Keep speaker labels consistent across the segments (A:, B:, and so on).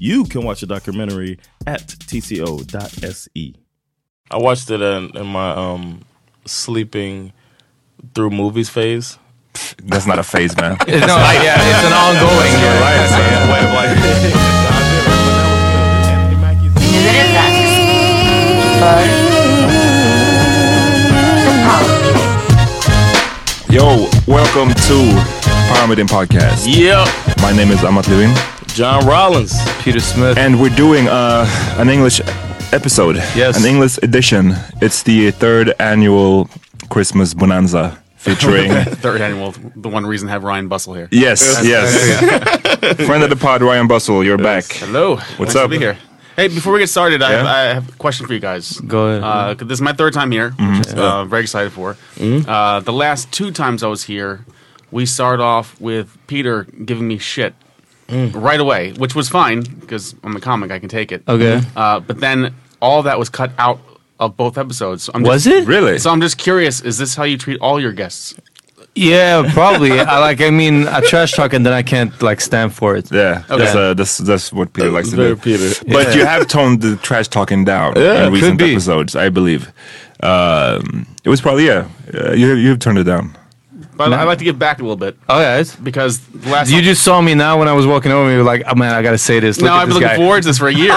A: You can watch the documentary at tco.se. I watched it in, in my um, sleeping through movies phase.
B: That's not a phase man.
C: yeah, it's an ongoing.
B: Yo, welcome to Paramedian Podcast.
A: Yep,
B: My name is Amat Levin,
A: John Rollins.
D: Peter Smith.
B: and we're doing uh, an English episode.
D: Yes.
B: An English edition. It's the third annual Christmas bonanza featuring.
D: Third annual, the one reason to have Ryan Bustle here.
B: yes, yes. Friend of the pod, Ryan Bustle, you're back.
D: Hello. nice
B: What's
D: to
B: up?
D: be here. Hey, before we get started, I, have,
B: Yeah?
D: I have a question for you guys.
A: Go ahead.
D: Uh, 'cause this is my third time here,
B: Mm-hmm.
D: which is, uh, I'm very excited for. Uh, the last two times I was here, we started off with Peter giving me shit right away, which was fine because I'm a comic, I can take it.
A: Okay.
D: Uh, but then all that was cut out of both episodes. So I'm
A: Was
D: just,
A: it?
B: Really?
D: So I'm just curious: is this how you treat all your guests?
E: Yeah, probably. I like. I mean, I trash talk and then I can't like stand for it.
B: Yeah, that's,
E: Okay.
B: uh, that's that's what Peter likes to
A: very
B: do.
A: Peter.
B: But you have toned the trash talking down
E: Yeah,
B: in
E: could
B: recent
E: be.
B: episodes, I believe. Um, it was probably yeah. Uh, you you have turned it down.
D: But I'd like to give back a little bit
E: All right.
D: because the last
E: You just saw me now when I was walking over. You were like, "Oh man, I gotta say this." Look
D: no,
E: at
D: I've been
E: this
D: looking
E: guy.
D: forward to this for a year.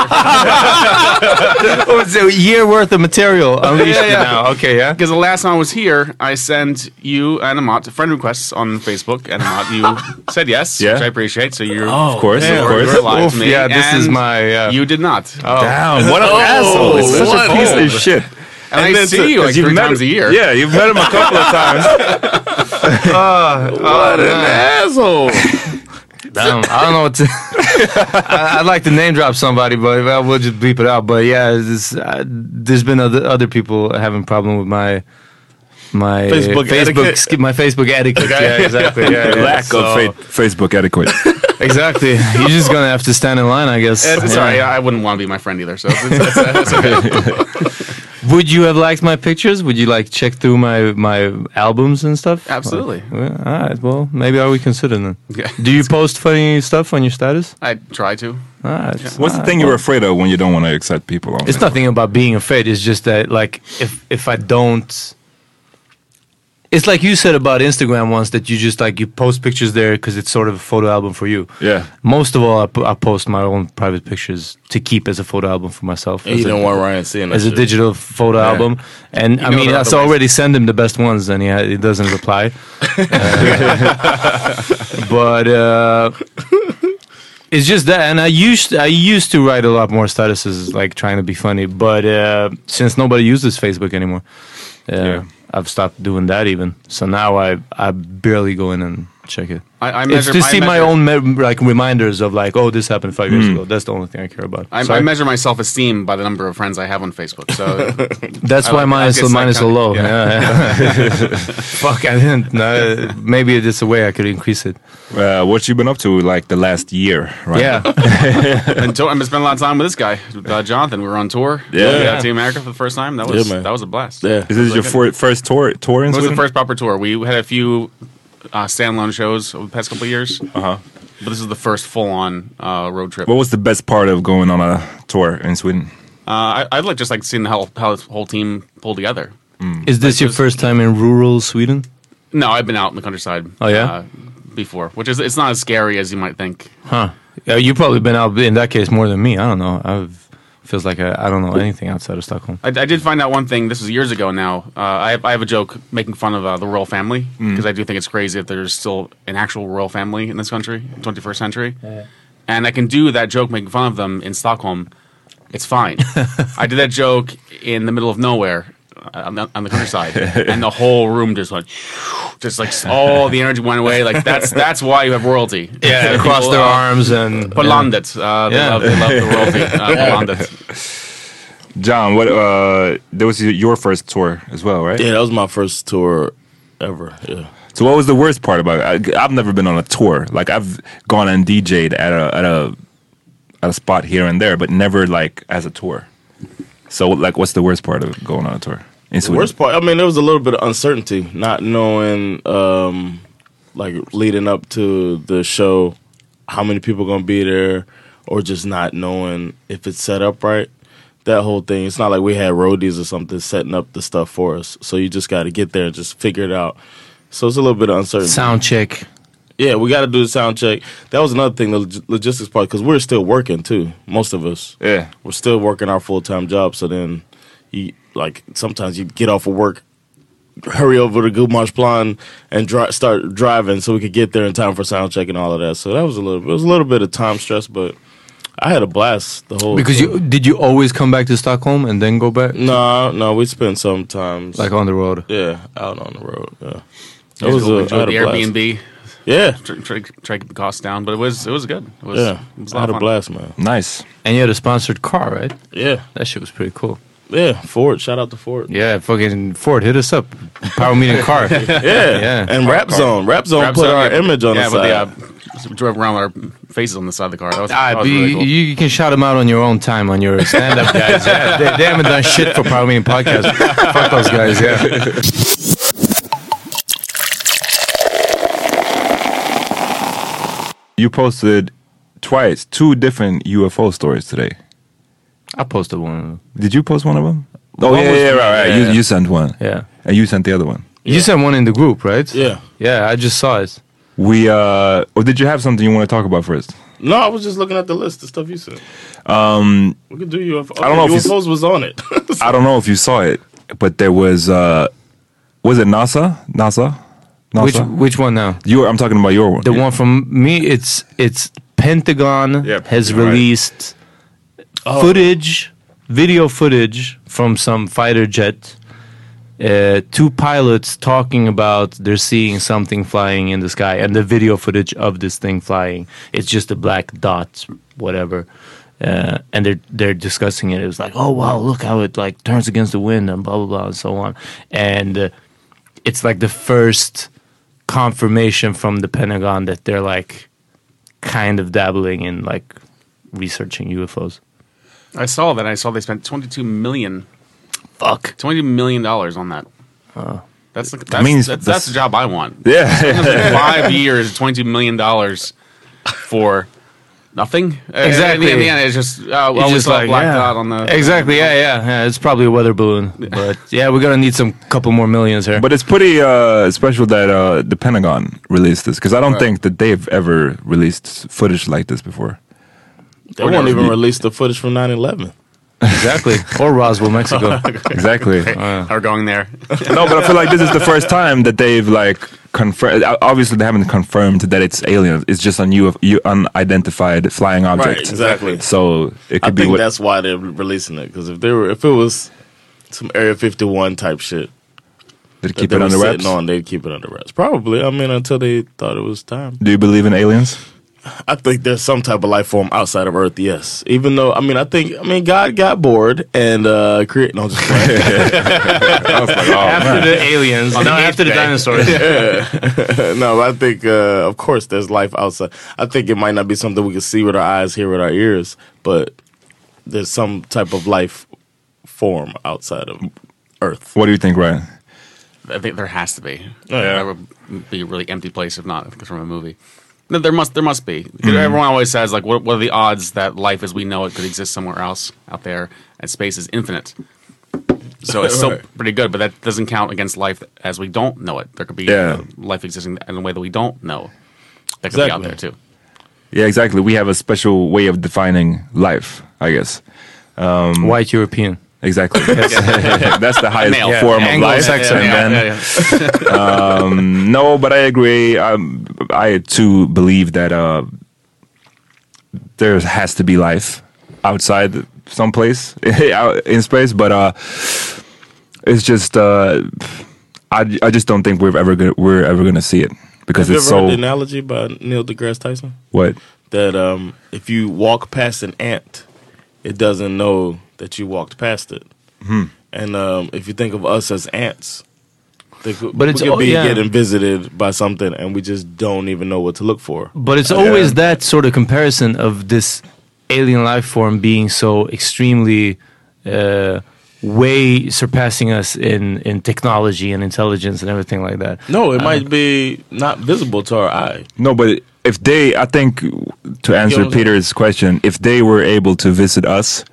E: Oh, it's a year worth of material unleashed now. Okay, yeah.
D: Because the last time I was here, I sent you and Amat friend requests on Facebook, and Amat, you said yes,
B: Yeah.
D: which I appreciate. So you're,
E: Oh,
B: Of course,
D: you
B: of
D: were- you
B: course.
D: were lying
E: Oof,
D: to me.
E: yeah, this is
D: and
E: my, uh, Oh. yeah.
D: You did not.
B: Damn, what an asshole! It's such
D: what?
B: a piece of shit.
D: and, I
B: then
D: see
B: to-
D: you like
B: 'cause you've
D: three
B: met
D: times
B: him-
D: a year.
B: Yeah, you've met him a couple of times.
E: Oh. What an asshole! Damn, I don't know what to. I, I'd like to name drop somebody, but I will just bleep it out. But yeah, it's, it's, uh, there's been other other people having problem with my my
A: Facebook etiquette.
E: sk- my Facebook etiquette. Yeah, exactly. Yeah, yeah.
B: Lack
E: So-
B: of fa- Facebook etiquette.
E: exactly. You're just gonna have to stand in line, I guess.
D: It's- it's all right.
E: Yeah.
D: I wouldn't want to be my friend either. So it's, it's, it's, it's okay.
E: Would you have liked my pictures? Would you like check through my my albums and stuff?
D: Absolutely.
E: Well, all right. Well, maybe are we considering them?
D: Yeah.
E: Do you post funny stuff on your status?
D: I try to.
E: All right.
B: What's the thing you're afraid of when you don't want to excite people? On
E: It's nothing about being afraid. It's just that, like, if if I don't, it's like you said about Instagram once that you just like you post pictures there because it's sort of a photo album for you.
B: Yeah.
E: Most of all, I, po- I post my own private pictures to keep as a photo album for myself.
A: And
E: as
A: you
E: a-
A: don't want Ryan seeing that
E: as a
A: shit.
E: digital photo album. And I
D: know
E: mean,
D: there
E: I
D: are
E: s-
D: other ways.
E: already send him the best ones, and he ha- he doesn't reply. Uh, but uh, it's just that, and I used I used to write a lot more statuses, like trying to be funny. But uh, since nobody uses Facebook anymore, uh,
B: Yeah.
E: I've stopped doing that even. So now I I barely go in and check it.
D: I- I
E: it's
D: measure-
E: to
D: I
E: see my
D: measure-
E: own me- like reminders of like, oh, this happened five
B: Hmm.
E: years ago. That's the only thing I care about.
D: I, I
E: Sorry?
D: measure my self esteem by the number of friends I have on Facebook. So
E: That's
D: I
E: why
D: like-
E: mine
D: I
E: is so
D: guess
E: mine is so
D: iconic,
E: low.
D: yeah.
E: Yeah, yeah. Fuck, I didn't. No, maybe it's a way I could increase it.
B: Uh, what you been up to like the last year, right?
E: Yeah,
D: And to- I'm gonna spend a lot of time with this guy, uh, Jonathan. We were on tour,
B: Yeah.
D: We got Team America for the first time. That was
A: Yeah, man.
D: that was a blast.
A: Yeah.
B: Is this your
E: uh,
B: fir- first tour? Tour in
D: It was the
B: Sweden?
D: first proper tour. We had a few uh, standalone shows over the past couple of years,
B: Uh-huh.
D: but this is the first full on uh, road trip.
B: What was the best part of going on a tour in Sweden?
D: Uh, I, I'd like just like seeing how how the whole team pulled together.
E: is this your first time in rural Sweden?
D: No, I've been out in the countryside.
E: Oh, yeah?
D: uh, before, which is it's not as scary as you might think.
E: Huh? Yeah, you've probably been out in that case more than me. I don't know. I've feels like uh, I, I don't know anything outside of Stockholm.
D: I, I did find out one thing. This was years ago now. Uh, I, have, I have a joke making fun of uh, the royal family
A: Mm.
D: because I do think it's crazy that there's still an actual royal family in this country, 21st century. And I can do that joke making fun of them in Stockholm. It's fine. I did that joke in the middle of nowhere uh, on the, on the countryside, and the whole room just went, just like all the energy went away. Like that's that's why you have royalty.
E: Yeah,
D: People,
E: across their
D: uh,
E: arms and
D: But landet, uh, they,
E: Yeah.
D: love, they love the royalty. Uh, landet.
B: John, what? Uh, that was y- your first tour as well, right?
A: Yeah, that was my first tour ever. Yeah.
B: So what was the worst part about it? I, I've never been on a tour. Like I've gone and DJ'd at a at a at a spot here and there, but never like as a tour. So like, what's the worst part of going on a tour in
A: The
B: Sweden?
A: worst part, I mean, there was a little bit of uncertainty, not knowing, um, like, leading up to the show, how many people going to be there, or just not knowing if it's set up right. That whole thing. It's not like we had roadies or something setting up the stuff for us. So you just got to get there and just figure it out. So it's a little bit of uncertainty.
E: sound check.
A: Yeah, we got to do the sound check. That was another thing, the log- logistics part, because we're still working too. Most of us,
B: Yeah.
A: we're still working our full time job. So then, you like sometimes you get off of work, hurry over to Gumarsh Plan and dri- start driving so we could get there in time for sound check and all of that. So that was a little, it was a little bit of time stress, but I had a blast the whole.
E: Because you did you always come back to Stockholm and then go back
A: no, no, we spent some time
E: like on the road?
A: yeah out on the road. Yeah,
D: It
A: was a- I had
D: the
A: a blast.
D: Airbnb.
A: yeah,
D: try, try, try to keep the costs down, but it was it was good. It was,
A: yeah.
D: it was a
A: I
D: lot
A: had
D: of fun.
A: a blast, man.
B: Nice.
E: And you had a sponsored car, right?
A: Yeah,
E: That shit was pretty cool.
A: yeah. Ford, shout out to Ford.
E: Yeah, fucking Ford, hit us up. Power meeting car.
A: Yeah.
E: Yeah.
A: And Rap Zone. Rap Zone
D: Perhaps,
A: put
D: uh,
A: our
D: yeah,
A: image on
D: yeah,
A: the side.
D: but yeah, we drove around with our faces on the side of the car. That was,
E: Ah,
D: that was
E: but
D: really
E: you,
D: cool.
E: you can shout them out on your own time on your stand-up guys. Yeah, they, they haven't done shit for Power Meeting Podcast. Fuck those guys. Yeah.
B: You posted twice two different UFO stories today.
E: I posted one. of them.
B: Did you post one of them? Oh yeah,
E: was-
B: yeah, right, right.
E: yeah,
B: you,
E: yeah.
B: you sent one.
E: Yeah.
B: And you sent the other one.
E: You sent one in the group, right?
A: yeah.
E: Yeah, I just saw it.
B: We uh, or did you have something you want to talk about first?
A: No, I was just looking at the list, the stuff you said. Um, we could do UFO.
B: Um, don't know if
A: Okay,
B: it's-
A: UFOs was on it.
B: I don't know if you saw it, but there was uh, was it NASA? NASA? NASA?
E: Which which one now?
B: Your, I'm talking about your one.
E: The one from me. It's it's Pentagon
B: Yeah,
E: has
B: right. Oh.
E: released footage, video footage from some fighter jet uh, two pilots talking about they're seeing something flying in the sky, and the video footage of this thing flying. It's just a black dot, whatever. Uh, and they're they're discussing it. It was like, oh wow, look how it like turns against the wind and blah blah blah and so on. And uh, it's like the first confirmation from the Pentagon that they're like kind of dabbling in like researching UFOs.
D: I saw that. I saw they spent twenty two million,
E: Fuck.
D: twenty million dollars on that. that's the, that's,
B: means
D: that's,
B: this-
D: that's the job I want.
B: Yeah.
D: Five years, twenty two million dollars for nothing. Uh, In
E: Exactly.
D: the, in the end, it's just uh, well,
E: It's
D: we
E: just
D: saw a black
E: yeah.
D: dot on the
E: exactly yeah, yeah yeah it's probably a weather balloon but yeah we're gonna need some couple more millions here
B: But it's pretty uh, special that uh, the Pentagon released this because I don't think that they've ever released footage like this before.
A: They won't even release the footage from 9-11.
E: exactly or Roswell Mexico
B: Exactly.
D: Are going there?
B: no, but I feel like this is the first time that they've like confirmed. Obviously, they haven't confirmed that it's alien. It's just an UF- U- unidentified flying object.
A: exactly.
B: So it
A: I
B: could be
A: think
B: what.
A: that's why they're releasing it because if they were, if it was some Area 51 type
B: Did
A: shit,
B: it
A: that
B: keep
A: they
B: it
A: were
B: under
A: sitting
B: wraps?
A: on, they'd keep it under wraps. Probably. I mean, until they thought it was time.
B: Do you believe in aliens?
A: I think there's some type of life form outside of Earth. Yes, even though I mean, I think I mean God got bored and uh create. No, I'm just playing.
D: Oh,
E: after the aliens no after the dinosaurs
A: no, but I think uh, of course there's life outside. I think it might not be something we can see with our eyes, hear with our ears, but there's some type of life form outside of Earth.
B: What do you think, Ryan?
D: I think there has to be.
B: Oh,
A: yeah.
D: That would be a really empty place if not. I think it's from a movie. No, there must there must be.
B: Mm-hmm.
D: 'Cause Everyone always says like, what, what are the odds that life as we know it could exist somewhere else out there, and space is infinite. So it's still
A: Right.
D: pretty good, but that doesn't count against life as we don't know it. There could be
B: Yeah.
D: uh, life existing in a way that we don't know. That could be out there
A: Exactly.
D: too.
B: Yeah, exactly. We have a special way of defining life, I guess.
F: Mm-hmm.
E: white European
B: Exactly. That's the highest
D: Male.
B: form of life.
E: Anglo-Saxon.
B: And then-
D: yeah, yeah.
B: No, but I agree. Um, I too believe that uh, there has to be life outside someplace out in space, but uh, it's just uh, I, I just don't think we're ever gonna, we're ever gonna see it because
A: Have you ever
B: it's
A: heard the
B: so
A: analogy by Neil deGrasse Tyson
B: what
A: that um, if you walk past an ant, it doesn't know that you walked past it.
E: Hmm.
A: And um, if you think of us as ants, they could,
E: But it's
A: we could
E: all-
A: be
E: yeah.
A: getting visited by something, and we just don't even know what to look for.
E: but it's always that sort of comparison of this alien life form being so extremely uh, way surpassing us in in technology and intelligence and everything like that
A: No, it might be not visible to our eye.
B: no but if they I think to answer
A: don't-
B: Peter's question if they were able to visit us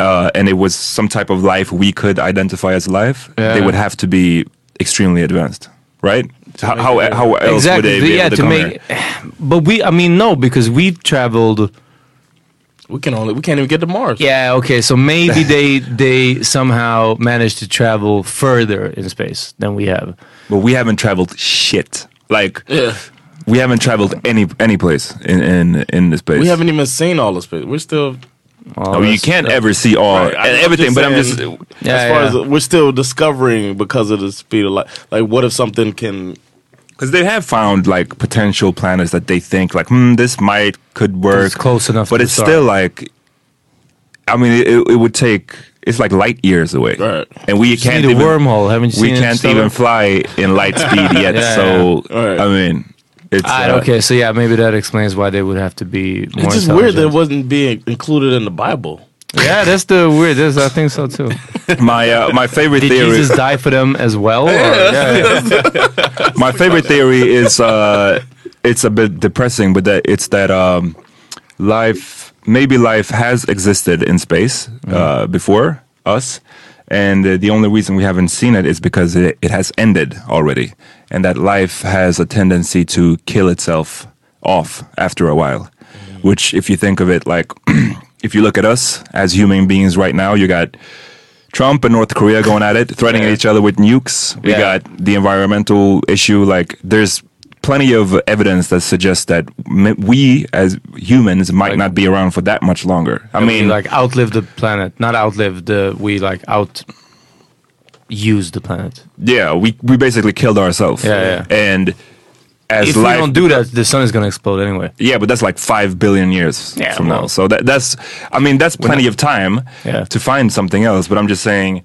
B: uh, and it was some type of life we could identify as life they
E: Yeah.
B: would have to be extremely advanced right how how, how else
E: exactly
B: would they be
E: yeah
B: able to,
E: to
B: come
E: make
B: here?
E: but we i mean no because we traveled
A: We can only we can't even get to Mars.
E: Yeah, okay. So maybe they they somehow managed to travel further in space than we have.
B: But we haven't traveled shit. Like we haven't traveled any any place in in in this space.
A: we haven't even seen all the space. We're still
E: Oh,
B: No, you
E: that's-
B: can't ever see all
A: Right, I'm-
B: and
A: I'm
B: everything.
A: just
B: but I'm just
A: saying,
E: Yeah,
A: as far
E: yeah.
A: as we're still discovering because of the speed of light. Like, what if something can
B: because they have found like potential planets that they think like hmm this might could work
E: It's close enough
B: But
E: to
B: it's
E: the star.
B: still like, I mean, it, it would take. It's like light years away,
A: Right.
B: and we
E: You
B: can't
E: need a
B: even
E: wormhole. Haven't you
B: we
E: seen it,
B: can't
E: Stella?
B: even fly in light speed yet.
E: Yeah,
B: so
A: yeah. Right.
B: I mean, it's
E: Ah,
B: uh,
E: okay, so yeah, maybe that explains why they would have to be more
A: It's just weird that it
E: intelligent.
A: wasn't being included in the Bible.
E: yeah, that's the weird. That's, I think so too.
B: My uh, my favorite
E: Did
B: theory.
E: Jesus die for them as well? or- yeah.
B: My favorite theory is uh, it's a bit depressing, but that it's that um, life maybe life has existed in space uh, before us, and uh, the only reason we haven't seen it is because it, it has ended already, and that life has a tendency to kill itself off after a while. Which, if you think of it like, if you look at us as human beings right now, you got Trump and North Korea going at it, threatening each other with nukes. We
E: Yeah.
B: got the environmental issue. Like, there's plenty of evidence that suggests that m- we as humans might not be around for that much longer. I
E: We,
B: mean,
E: like outlive the planet, not outlive the. We like out use the planet.
B: Yeah, we we basically killed ourselves.
E: Yeah,
B: And as
E: if
B: life,
E: we don't do that, the sun is gonna explode anyway.
B: yeah, but that's like five billion years
E: Yeah,
B: from now.
E: well-
B: So that that's, I mean, that's plenty of time
E: Yeah.
B: to find something else. But I'm just saying,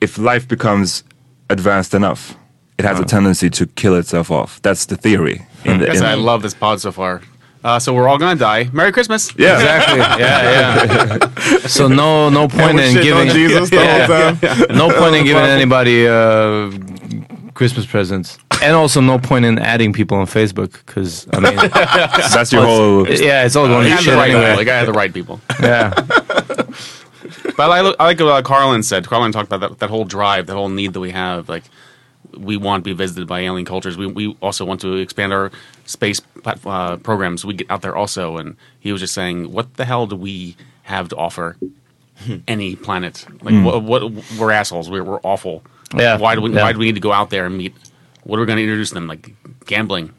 B: if life becomes advanced enough, it has a tendency to kill itself off. That's the theory. In the,
D: Yes,
B: in-
D: I love this pod so far. Uh, so we're all gonna die. Merry Christmas.
B: Yeah.
E: Exactly. Yeah, yeah. So no, no point in
A: shitting on
E: giving
A: Jesus the
E: Yeah.
A: whole time.
E: no point in giving anybody uh, Christmas presents, and also no point in adding people on Facebook because I mean,
B: That's your whole.
E: yeah, it's all
D: I
E: going to
D: had Uh, the
E: shit
D: right people.
E: anyway.
D: Like I had the right people.
E: Yeah,
D: But I, li- I like what uh, Carlin said. Carlin talked about that, that whole drive, that whole need that we have. Like, we want to be visited by alien cultures. We, we also want to expand our space plat- uh, programs. We get out there also. And he was just saying, what the hell do we have to offer any planet? Like, what, what we're assholes. We're, we're awful.
E: Hmm. Yeah.
D: Why do we
E: Yeah.
D: Why do we need to go out there and meet? What are we going to introduce them? Like gambling,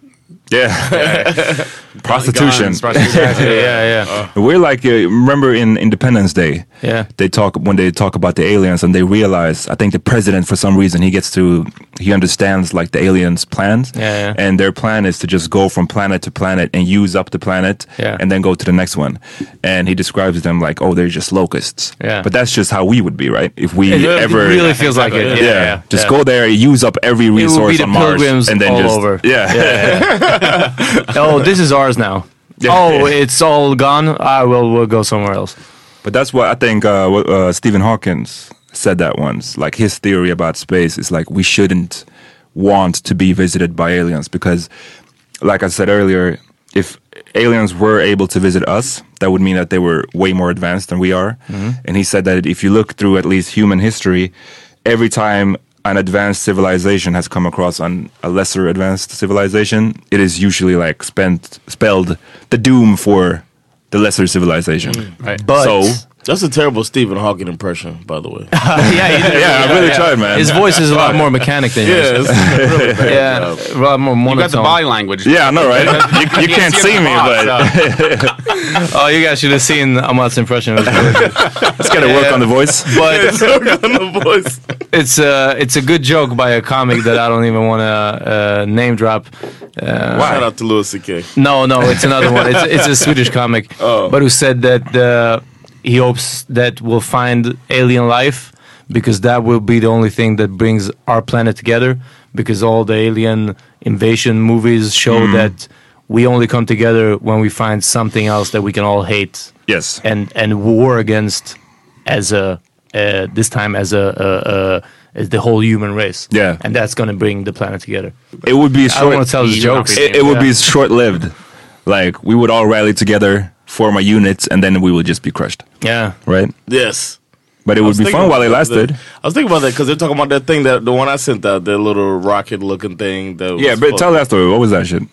B: Yeah. Prostitution.
D: guns, prostitution.
E: yeah, yeah.
B: We're like, uh, remember in Independence Day?
E: Yeah.
B: They talk, when they talk about the aliens and they realize, I think the president, for some reason, he gets to, he understands like the aliens' plans.
E: Yeah, yeah.
B: And their plan is to just go from planet to planet and use up the planet
E: Yeah.
B: and then go to the next one. And he describes them like, oh, they're just locusts.
E: Yeah.
B: But that's just how we would be, right? If we
E: It
B: ever.
E: really feels like it. Yeah,
B: yeah,
E: yeah, yeah.
B: just go there, use up every
E: be
B: resource
E: the
B: on Mars,
E: pilgrims
B: and then
E: all
B: just
E: over.
B: yeah,
E: Oh, this is ours now.
B: Yeah.
E: Oh, it's all gone. I will. We'll go somewhere else.
B: But that's what I think uh, what, uh, Stephen Hawkins said that once. Like his theory about space is like we shouldn't want to be visited by aliens because, like I said earlier, if aliens were able to visit us, that would mean that they were way more advanced than we are. And he said that if you look through at least human history, every time an advanced civilization has come across on a lesser advanced civilization, it is usually like spent spelled the doom for the lesser civilization.
D: Right.
E: But
B: so
A: That's a terrible Stephen Hawking impression, by the way.
E: yeah, he did.
B: yeah, I really tried, man.
E: His voice is a lot more mechanic than yours. Yeah, a lot more
D: you got the
E: monotone.
D: body language.
B: yeah, I know, right? You, you can't see me,
D: Fox,
B: but
D: uh,
E: Oh, you guys should have seen Amat's impression. It was really good.
B: it's gotta work
E: Yeah.
B: on the voice.
E: but it's a it's a good joke by a comic that I don't even want to uh, name drop.
A: Shout out to Louis C.K.
E: No, no, it's another one. It's it's a Swedish comic, but who said that uh, he hopes that we'll find alien life because that will be the only thing that brings our planet together. Because all the alien invasion movies show
B: Hmm.
E: that we only come together when we find something else that we can all hate
B: Yes.
E: and and war against as a uh, this time as a, a, a as the whole human race.
B: Yeah.
E: and that's gonna bring the planet together.
B: It would be short.
E: wanna tell the
B: it-
E: jokes.
B: It, it would
E: Yeah.
B: be short lived. Like we would all rally together, form a unit, and then we would just be crushed,
E: Yeah,
B: right?
A: Yes.
B: But it would be fun while it lasted.
A: I was thinking about that because they're talking about that thing that the one I sent out, that little rocket looking thing. That was
B: Yeah, but
A: supposed-
B: tell that story. What was that shit?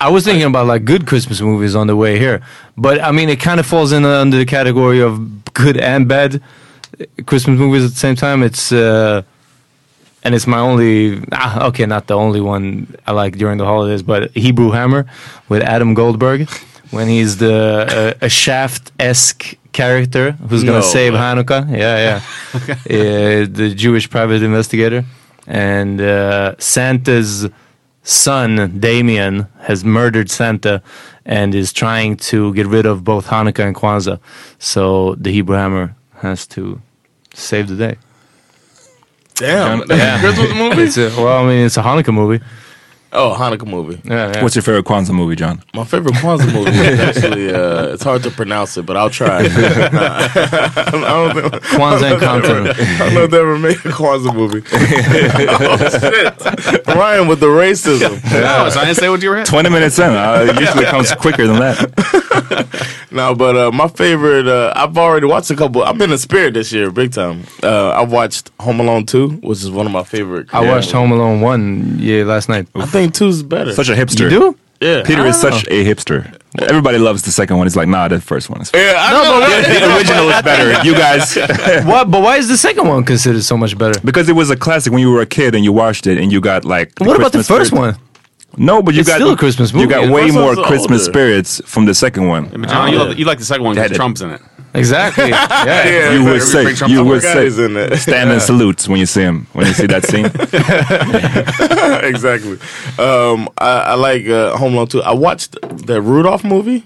E: I was thinking about like good Christmas movies on the way here, but I mean it kind of falls in uh, under the category of good and bad Christmas movies at the same time. It's uh, and it's my only ah, okay, not the only one I like during the holidays, but Hebrew Hammer with Adam Goldberg when he's the uh, a Shaft esque character who's gonna
A: No.
E: save Hanukkah. Yeah, yeah, Uh, the Jewish private investigator and uh, Santa's son Damien has murdered Santa and is trying to get rid of both Hanukkah and Kwanzaa. So the Hebrew Hammer has to save the day.
A: Damn.
E: Christmas movie? It's a, well, I mean, it's a Hanukkah movie.
A: Oh, Hanukkah movie.
E: Yeah, yeah.
B: What's your favorite Kwanzaa movie, John?
A: My favorite Kwanzaa movie is actually, uh, it's hard to pronounce it, but I'll try. I don't think-
E: Kwanzaa and Compton.
A: I don't know if they ever made a Kwanzaa movie. oh, shit. Ryan with the racism.
D: Oh, so I didn't say what you were at.
B: Twenty minutes in. Uh, it usually comes quicker than that.
A: No, but uh, my favorite, uh, I've already watched a couple. I've been in spirit this year, big time. Uh, I watched Home Alone 2, which is one of my favorite.
E: I watched Home Alone 1 yeah, last night.
A: I think 2's better.
B: Such a hipster.
E: You do? Oh.
A: yeah.
B: Peter is such a hipster. Everybody loves the second one. He's like, nah, the first one is.
A: Yeah, I know, but
B: the original is better. You guys,
E: What? But why is the second one considered so much better?
B: because it was a classic when you were a kid and you watched it and you got like.
E: What about the
B: Christmas
E: first
B: spirit.
E: one?
B: No, but you
E: It's
B: got
E: still a Christmas movie.
B: You got
E: The
B: way
A: first
B: more
A: one's
B: Christmas
A: older.
B: spirits from the second one.
D: But John, you,
A: Oh.
D: love, you like the second one
B: Had
D: because
B: it.
D: Trump's in it.
E: Exactly. Yeah.
A: Yeah,
B: you
A: but
B: would
A: every
B: say
D: Frank Trump
B: you
D: song
B: would
A: guy
B: say
A: is in it.
B: stand and salutes when you see him when you see that scene.
A: exactly. Um, I, I like uh, Home Alone too. I watched that Rudolph movie,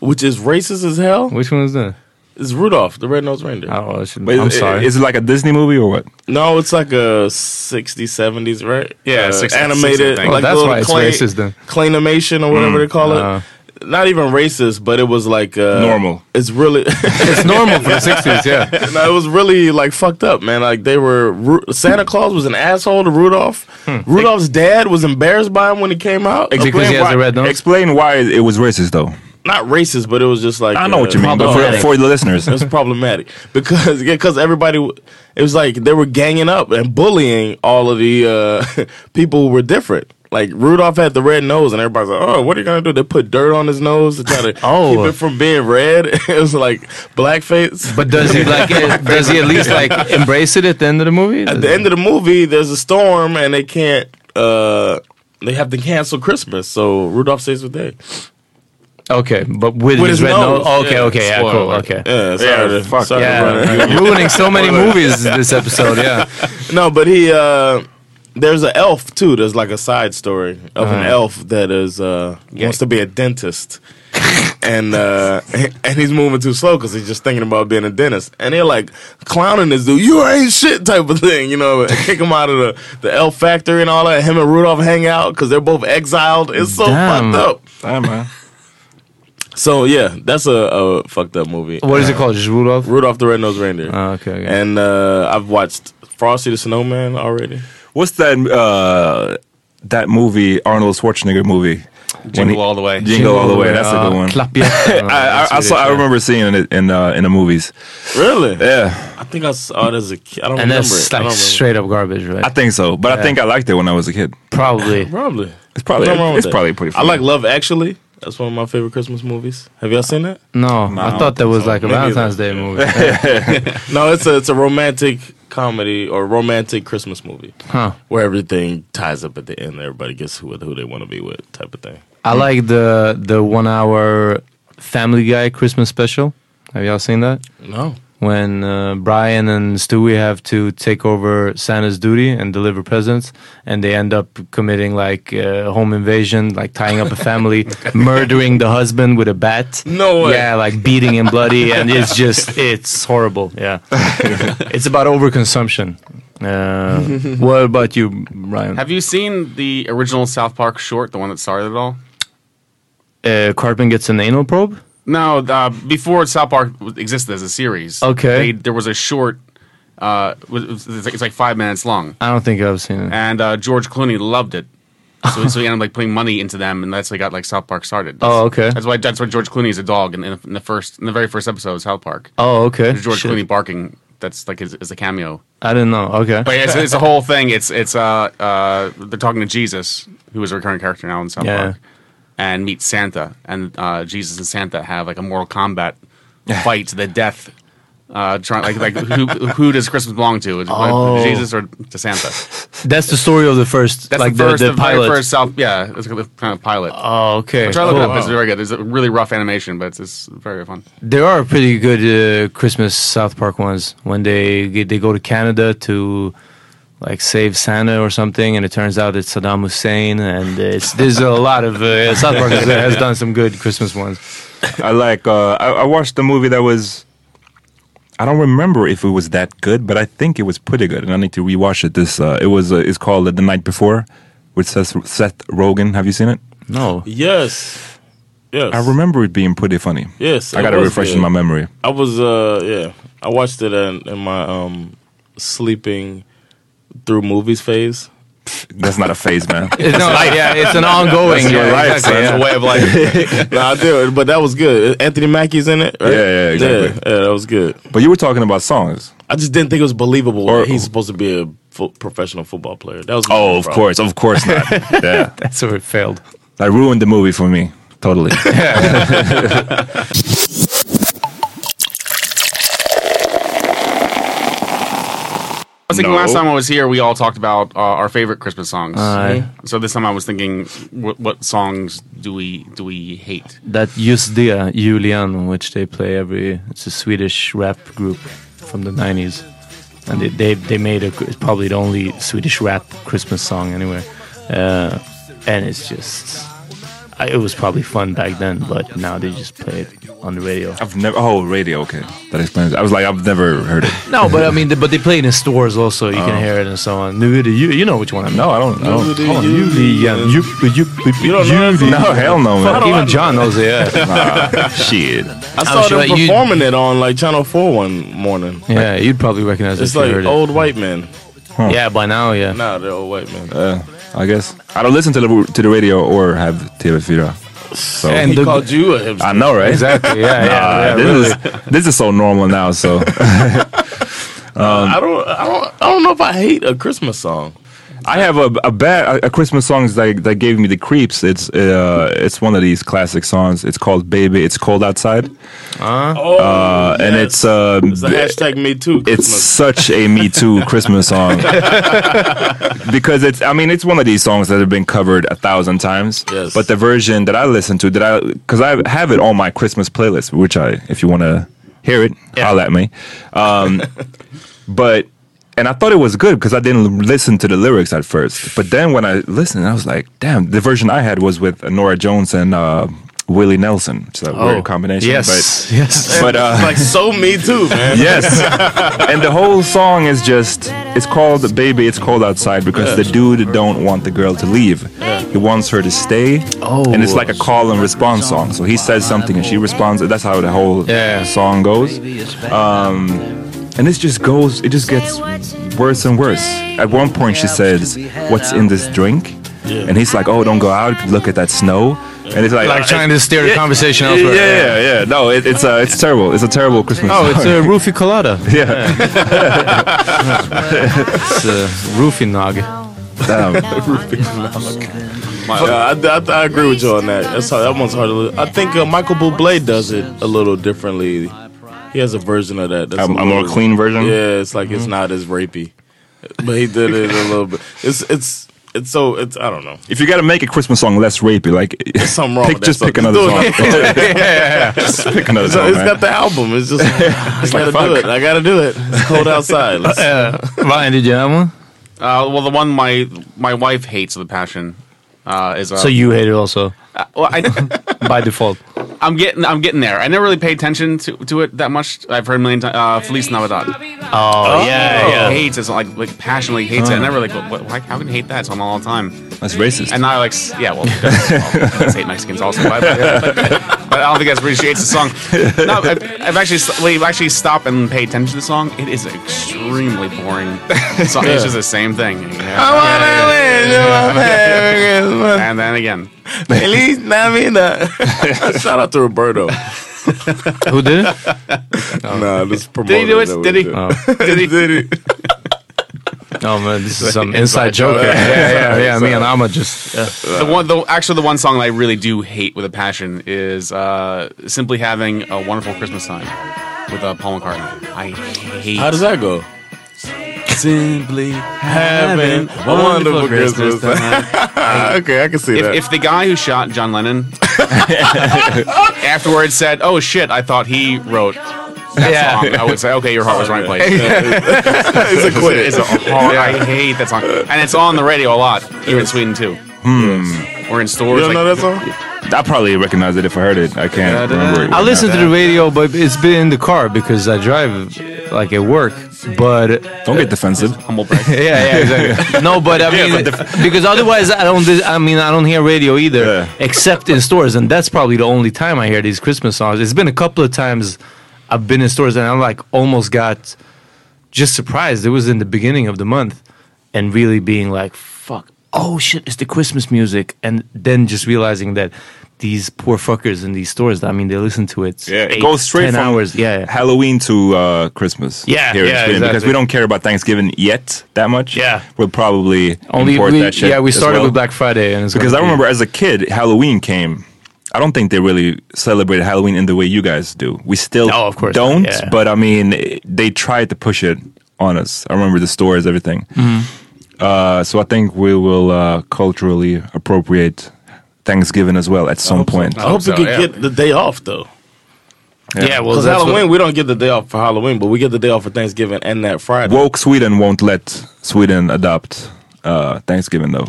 A: which is racist as hell.
E: Which one was that?
A: It's Rudolph, the red-nosed reindeer.
E: Oh, I shouldn't-
B: But
E: I'm
B: is,
E: sorry.
B: Is it like a Disney movie or what?
A: No, it's like a 60s, 70s, right?
D: Yeah,
A: Uh,
D: 60s,
A: animated.
D: 60s, I think.
A: like
E: Oh, that's
A: little
E: why it's
A: clay,
E: racist then.
A: Claymation or
B: Mm,
A: whatever they call it.
E: uh.
A: Not even racist, but it was like uh,
B: uh-huh. Normal.
A: It's really
E: it's normal for the 60s, yeah.
A: no, it was really like fucked up, man. Like they were Ru- Santa Claus was an asshole to Rudolph.
B: Hmm.
A: Rudolph's dad was embarrassed by him when he came out.
E: Because he has a red nose.
B: Explain why it was racist though.
A: Not racist, but it was just like uh,
B: I know what you mean, but for,
A: problematic.
B: for the listeners,
A: It was problematic because because everybody w- it was like they were ganging up and bullying all of the uh, people who were different. Like Rudolph had the red nose, and everybody's like, "Oh, what are you gonna do?" They put dirt on his nose to try to
E: Oh.
A: keep it from being red. it was like blackface.
E: But does he like? it- does he at least like embrace it at the end of the movie?
A: at the end of the movie, there's a storm, and they can't. Uh, they have to cancel Christmas, so Rudolph stays with they.
E: okay, but with,
A: With
E: his,
A: his
E: red nose.
A: nose,
E: okay,
A: yeah.
E: okay, yeah, cool,
D: Spoiler.
E: okay.
A: Yeah, sorry, to,
B: fuck,
A: sorry to
E: Yeah,
A: run it.
E: you're ruining so many movies this episode. Yeah,
A: No, but he uh there's an elf too. There's like a side story of an
E: Uh-huh.
A: elf that is uh wants to be a dentist. and uh and he's moving too slow cuz he's just thinking about being a dentist. And they're like clowning this dude. You ain't shit type of thing, you know, kick him out of the the elf factory and all that. Him and Rudolph hang out cuz they're both exiled. It's so
E: Damn.
A: fucked up.
B: Damn, man.
A: So yeah, that's a, a fucked up movie.
E: what is it called? Just Rudolph.
A: Rudolph the Red-Nosed Reindeer.
E: Oh, okay, okay.
A: And uh I've watched Frosty the Snowman already.
B: What's that uh, that movie Arnold Schwarzenegger movie?
D: Jingle all the way.
B: Jingle, all the way. That's a good
E: Uh,
B: one.
E: Clap your-
B: I, I, I saw. I remember seeing it in uh, in the movies.
A: Really?
B: Yeah,
A: I think I saw it as a kid. I don't
E: and
A: remember
E: that's
A: it. I
E: like
A: don't remember.
E: straight up garbage, right?
B: I think so. But I think I liked it when I was a kid.
E: Probably.
A: Probably.
B: It's probably
A: Nothing wrong with
B: it's
A: that.
B: probably pretty.
A: I
B: Funny.
A: like Love Actually. That's one of my favorite Christmas movies. Have y'all seen that?
E: No, I thought that was like a
A: Me neither.
E: Valentine's Day movie.
A: No, it's a it's a romantic comedy or romantic Christmas movie
E: Huh.
A: where everything ties up at the end. Everybody gets who who they want to be with, type of thing.
E: I like the the one hour Family Guy Christmas special. Have y'all seen that?
A: No.
E: when uh, Brian and Stewie have to take over Santa's duty and deliver presents, and they end up committing like uh, home invasion, like tying up a family, murdering the husband with a bat.
A: No way.
E: Yeah, like beating him bloody, and it's just it's horrible. Yeah, it's about overconsumption. Uh, what about you, Brian?
D: Have you seen the original South Park short, the one that started it all?
E: uh, Cartman gets an anal probe.
D: No, uh, before South Park w- existed as a series. they,
E: Okay.
D: there was a short. Uh, was- it was- it's like- it's like five minutes long,
E: I don't think I've seen it.
D: and uh, George Clooney loved it. So, so he ended up like putting money into them, and that's how he got like South Park started.
E: Oh, okay.
D: That's why that's why George Clooney is a dog in, in, the, in the first in the very first episode of South Park.
E: Oh, okay.
D: There's George
E: Shit.
D: Clooney barking. That's like his, is a cameo.
E: I didn't know. Okay.
D: But it's, it's a whole thing. It's it's uh uh they're talking to Jesus, who is a recurring character now in South
E: Yeah.
D: Park, and meet Santa, and uh, Jesus and Santa have like a Mortal Kombat fight to the death. Uh, trying like like who who does Christmas belong to? Is it
E: Oh.
D: Jesus or to Santa?
E: That's the story of the first,
D: That's
E: like
D: the first, the,
E: pilot.
D: very first South. Yeah, it's the kind of pilot.
E: Oh, okay.
D: Try to look it
E: cool.
D: up. It's very good. It's a really rough animation, but it's, it's very fun.
E: There are pretty good uh, Christmas South Park ones when they get, they go to Canada to like save Santa or something, and it turns out it's Saddam Hussein, and it's there's a lot of uh, South Park has, has done some good Christmas ones.
B: I like. Uh, I, I watched the movie that was. I don't remember if it was that good, but I think it was pretty good, and I need to rewatch it. This uh, it was. Uh, it's called The Night Before, with Seth, Seth Rogen. Have you seen it?
E: No,
A: Yes. Yes.
B: I remember it being pretty funny.
A: Yes,
B: I
A: it
B: got to
A: was
B: refresh
A: good.
B: in my memory.
A: I was uh yeah. I watched it in, in my um sleeping through movies phase.
B: That's not a phase, man.
E: it's no, like, yeah, it's an ongoing.
B: That's your
E: yeah,
B: life,
E: exactly,
B: son.
E: yeah.
B: It's a
A: way of life. no, I do, but that was good. Anthony Mackie's in it. Right?
B: Yeah, yeah, exactly.
A: Yeah, yeah, that was good.
B: But you were talking about songs.
A: I just didn't think it was believable.
B: Or-
A: that he's supposed to be a fo- professional football player. That was my
B: Oh, of
A: problem.
B: course, of course not. yeah,
E: That's where it failed.
B: that ruined the movie for me totally.
D: I was thinking
B: No.
D: last time I was here, we all talked about uh, our favorite Christmas songs.
E: Aye.
D: So this time I was thinking, what, what songs do we do we hate?
E: That Just Det, Julian, which they play every. It's a Swedish rap group from the 90s. And they, they, they made a, it's probably the only Swedish rap Christmas song anyway. Uh, and it's just. I, it was probably fun back then, but now they just play it on the radio.
B: I've never. Oh, radio. Okay, that explains. It. I was like, I've never heard it.
E: No, but
A: uh,
E: I mean, the, but they play it in stores also. You can hear it and so on. You, you know which one I mean.
B: No, I don't. I don't.
A: Dude,
E: Hold on.
A: you-
E: You, the, um, you, you,
A: You don't know that
B: No, hell no,
E: Fuck,
B: man.
E: even John knows it. Yeah,
B: Nah, shit.
A: I saw
E: Oh, sure
A: them
E: you-
A: performing it on like Channel Four one morning.
E: yeah. You'd probably recognize it
A: It's
E: if you
A: like
E: heard
A: old white men.
E: it. Yeah, by now, yeah.
A: Nah, they're old white men.
B: Uh, I guess I don't listen to the to the radio or have TV4. So
E: And
A: he
E: the-
A: called you a hipster.
B: I know, right?
E: Exactly. Yeah, yeah.
B: Uh,
E: yeah,
B: this
E: really.
B: is this is so normal now. So
A: I don't. I don't. I don't know if I hate a Christmas song.
B: I have a a bad a, a Christmas song that that gave me the creeps. It's uh it's one of these classic songs. It's called "Baby, It's Cold Outside,"
A: Oh,
B: uh, and
A: yes.
B: it's uh
A: It's the hashtag Me Too.
B: it's
A: Christmas.
B: such a Me Too Christmas song because it's. I mean, it's one of these songs that have been covered a thousand times.
A: Yes.
B: But the version that I listen to, that I because I have it on my Christmas playlist, which I, if you want to hear it, holla at me. Um, but and I thought it was good because I didn't l- listen to the lyrics at first. But then when I listened, I was like, damn, the version I had was with Nora Jones and uh, Willie Nelson. It's a weird combination.
E: Yes, yes.
B: But, but uh,
A: It's like so Me Too, man.
B: Yes. and the whole song is just it's called Baby It's Cold Outside because the dude don't want the girl to leave. He wants her to stay.
E: Oh.
B: And it's like a call and response song. So he says something and she responds. That's how the whole
E: Yeah.
B: song goes. Um and this just goes it just gets worse and worse. At one point she says, "What's in this drink?" And he's like, "Oh, don't go out. Look at that snow." And it's like,
E: Like trying to steer the conversation
B: yeah,
E: elsewhere.
B: yeah, yeah, yeah. No, it, it's uh, it's terrible. It's a terrible Christmas.
E: Oh, it's
B: song.
E: a roofie colada.
B: yeah.
E: It's a roofie eh, nog.
A: Yeah, I, I, I agree with you on that. That's hard, that one's hard. To, li- I think uh, Michael Bublé does it a little differently. He has a version of that. That's
B: a, a more
A: little-
B: clean version. Mm-hmm.
A: Yeah, it's like it's not as rapey, but he did it a little bit. It's it's it's so it's I don't know.
B: If you got to make a Christmas song less rapey, like
A: something wrong
B: pick,
A: with that
B: just
A: song.
B: pick another song.
A: Just do
B: just pick another
A: So
B: song.
A: it's
B: man.
A: not the album. It's just I gotta do it. I gotta do it. It's cold outside. Let's-
E: Ryan, did you have one?
D: Uh, well, the one my my wife hates with a passion uh, is. Uh,
E: So you hate it also
D: well, I,
E: by default.
D: I'm getting I'm getting there. I never really pay attention to, to it that much. I've heard a million times. Uh, Feliz Navidad.
E: Oh, yeah,
D: Hates it like like passionately hates it. And I never like what, why how can you hate that song all the time?
B: That's racist.
D: And I like s- yeah well, well I hate Mexicans also. But, but, but I don't think that's appreciates the song. No, I've, I've actually s- we've actually stopped and paid attention to the song. It is extremely boring. song. It's just the same thing.
A: I
B: Oh,
A: wanna win. I'm having Christmas.
D: And then again.
A: Feliz Navidad. Shout out to Roberto.
E: yeah. Who did it?
A: nah, this promoter
D: Did he do
A: that
D: it?
A: we
D: Did he?
E: Oh.
D: Did he? Did he?
E: Oh man, this is some inside joke. Yeah, yeah, yeah. Me and Amma just. Yeah.
D: The one, the actually, the one song that I really do hate with a passion is uh, simply having a wonderful Christmas time with uh, Paul McCartney. I hate
A: How does that go?
D: simply
A: Having a wonderful Christmas. okay, I can see
D: uh,
A: that.
D: If, if the guy who shot John Lennon afterwards said, "Oh shit, I thought he wrote." That
E: Yeah.
D: song, I would say, okay, your heart was right place. it's a quit. It's a hard, I hate that song, and it's on the radio a lot here in Sweden too. Or in
A: you
D: stores. like-
A: don't know that song?
B: I probably recognize it if I heard it. I can't remember it.
E: I
B: right
E: listen to the radio, but it's been in the car because I drive like at work. But
B: now. Don't get defensive.
D: humble brag.
E: yeah, yeah, exactly. no, but I mean, because otherwise I don't. I mean, I don't hear radio either,
B: Yeah.
E: except in stores, and that's probably the only time I hear these Christmas songs. It's been a couple of times I've been in stores, and I like almost got just surprised. It was in the beginning of the month, and really being like, "Fuck, oh shit, it's the Christmas music," and then just realizing that. These poor fuckers in these stores. I mean, they listen to it.
B: Yeah, it
E: eight,
B: goes straight
E: 10
B: from
E: hours. Yeah, yeah.
B: Halloween to uh, Christmas.
E: Yeah,
B: here in
E: yeah,
B: Sweden, because
E: exactly.
B: we don't care about Thanksgiving yet that much.
E: Yeah.
B: we'll probably
E: Only
B: import
E: we,
B: that shit.
E: yeah, we
B: as
E: started
B: well.
E: with Black Friday, and it's
B: Because
E: gonna
B: I
E: be-
B: remember as a kid, Halloween came. I don't think they really celebrated Halloween in the way you guys do. We still
E: No, Oh, of course not,
B: don't,
E: yeah.
B: but I mean, it- they tried to push it on us. I remember the stores, everything.
E: Mm-hmm.
B: Uh, so I think we will uh, culturally appropriate Thanksgiving as well at some point.
A: I hope
D: so,
A: we can
D: yeah.
A: get the day off though.
E: yeah, well,
A: Because
E: that's what-
A: Halloween, we don't get the day off for Halloween, but we get the day off for Thanksgiving and that Friday.
B: Woke Sweden won't let Sweden adopt uh, Thanksgiving, though.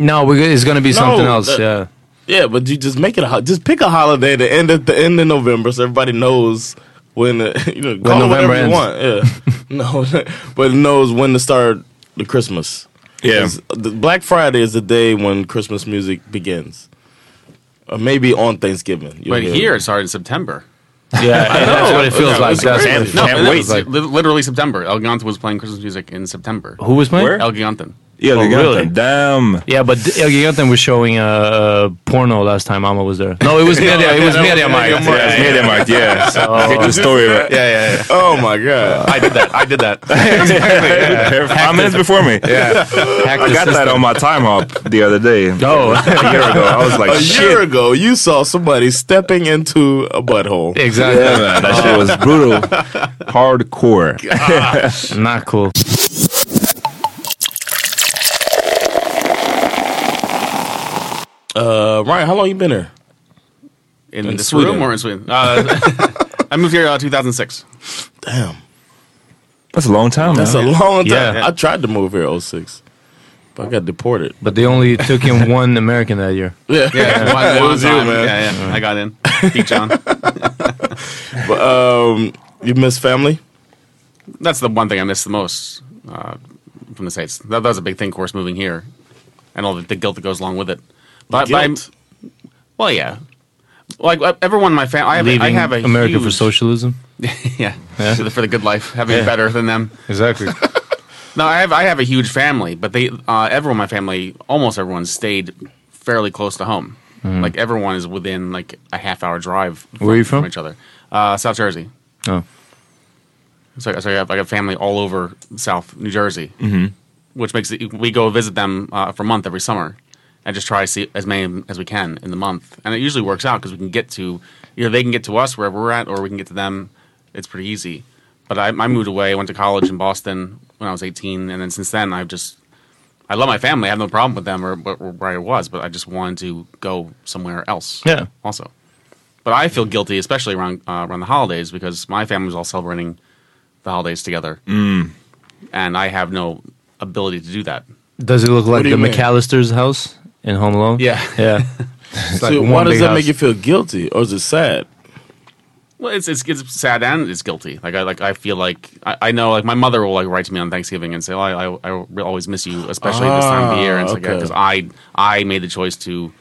E: No, we're, go- it's going to be something
A: No,
E: else.
A: that-
E: yeah,
A: Yeah, but you just make it a ho- just pick a holiday to end at the end of November, so everybody knows when the, you know call
E: November
A: it whatever you want. Yeah, no, but knows when to start the Christmas.
B: Yeah.
A: 'Cause the Black Friday is the day when Christmas music begins, or maybe on Thanksgiving. you'll
D: But
A: hear
D: here
A: it.
D: it started in September.
E: Yeah, that's what it feels
D: No,
E: like.
D: it's
E: That's
D: crazy.
E: what it
D: No,
E: feels
D: and that's
E: like.
D: li- literally September. El Gigante was playing Christmas music in September.
E: Who was playing?
B: Where?
D: El Gigante.
B: Yeah,
E: Oh,
B: they got
E: really?
B: them. Damn.
E: Yeah, but El Gigante was showing a, a porno last time Mama was there. No, it was Media. It was Media Markt.
B: Yeah, it's Mediamarkt, yeah.
E: Oh.
B: Get the story right. Yeah, yeah, yeah.
A: Oh my god!
B: I did that. I did that. exactly. Five minutes before me. Yeah. I got that on my time hop the other day.
E: Oh.
B: a year ago. I was like,
A: A
B: shit.
A: year ago, you saw somebody stepping into a butthole.
E: Exactly.
B: Yeah, man, that shit was brutal. Hardcore.
E: Not cool.
A: Uh, Ryan, how long you been here?
D: In,
A: In
D: this
A: Sweden.
D: room or in Sweden? Uh, I moved here uh, 2006.
A: Damn,
B: That's a long time,
A: that's a
B: man.
A: long time.
E: Oh, Yeah.
A: I tried to move here 06, but I got deported.
E: But they only took in one American that year.
A: Yeah,
D: Yeah, one-
A: It
D: one
A: was you,
D: time.
A: man.
D: Yeah, yeah. I got in. Beat John.
A: Um, you miss family?
D: That's the one thing I miss the most uh, from the states. That, that was a big thing, of course, moving here, and all the, the guilt that goes along with it. But, but I'm-
A: Guilt?
D: well, yeah. Like uh, everyone in my family, I have, a-
E: Leaving
D: I have a
E: America for
D: huge-
E: socialism.
D: yeah, For, the, for the good life, having it better than them.
E: Exactly.
D: No, I have I have a huge family, but they uh, everyone in my family, almost everyone, stayed fairly close to home. Like everyone is within like a half hour drive. From,
E: Mm. Where are you from?
D: each other, uh, South Jersey.
E: oh.
D: So, so I, have, I got family all over South New Jersey, mm-hmm. which makes it, we go visit them uh, for a month every summer, and just try to see as many as we can in the month. And it usually works out because we can get to either they can get to us wherever we're at, or we can get to them. It's pretty easy. But I, I moved away, went to college in Boston when I was 18, and then since then I've just I love my family. I have no problem with them or, or where I was, but I just wanted to go somewhere else.
E: Yeah.
D: Also, but I feel guilty, especially around uh, around the holidays, because my family was all celebrating the holidays together, and I have no ability to do that.
E: Does it look like
A: do
E: the
A: you mean?
E: McAllister's house in Home Alone?
D: Yeah.
E: Yeah.
A: so
E: one
A: why does
E: big
A: that
E: house.
A: make you feel guilty, or is it sad?
D: Well, it's, it's it's sad and it's guilty. Like I like I feel like I, I know like my mother will like write to me on Thanksgiving and say, "Oh, I I, I will always miss you, especially this time of the year," and it's
A: Ah,
D: like because I I made the choice to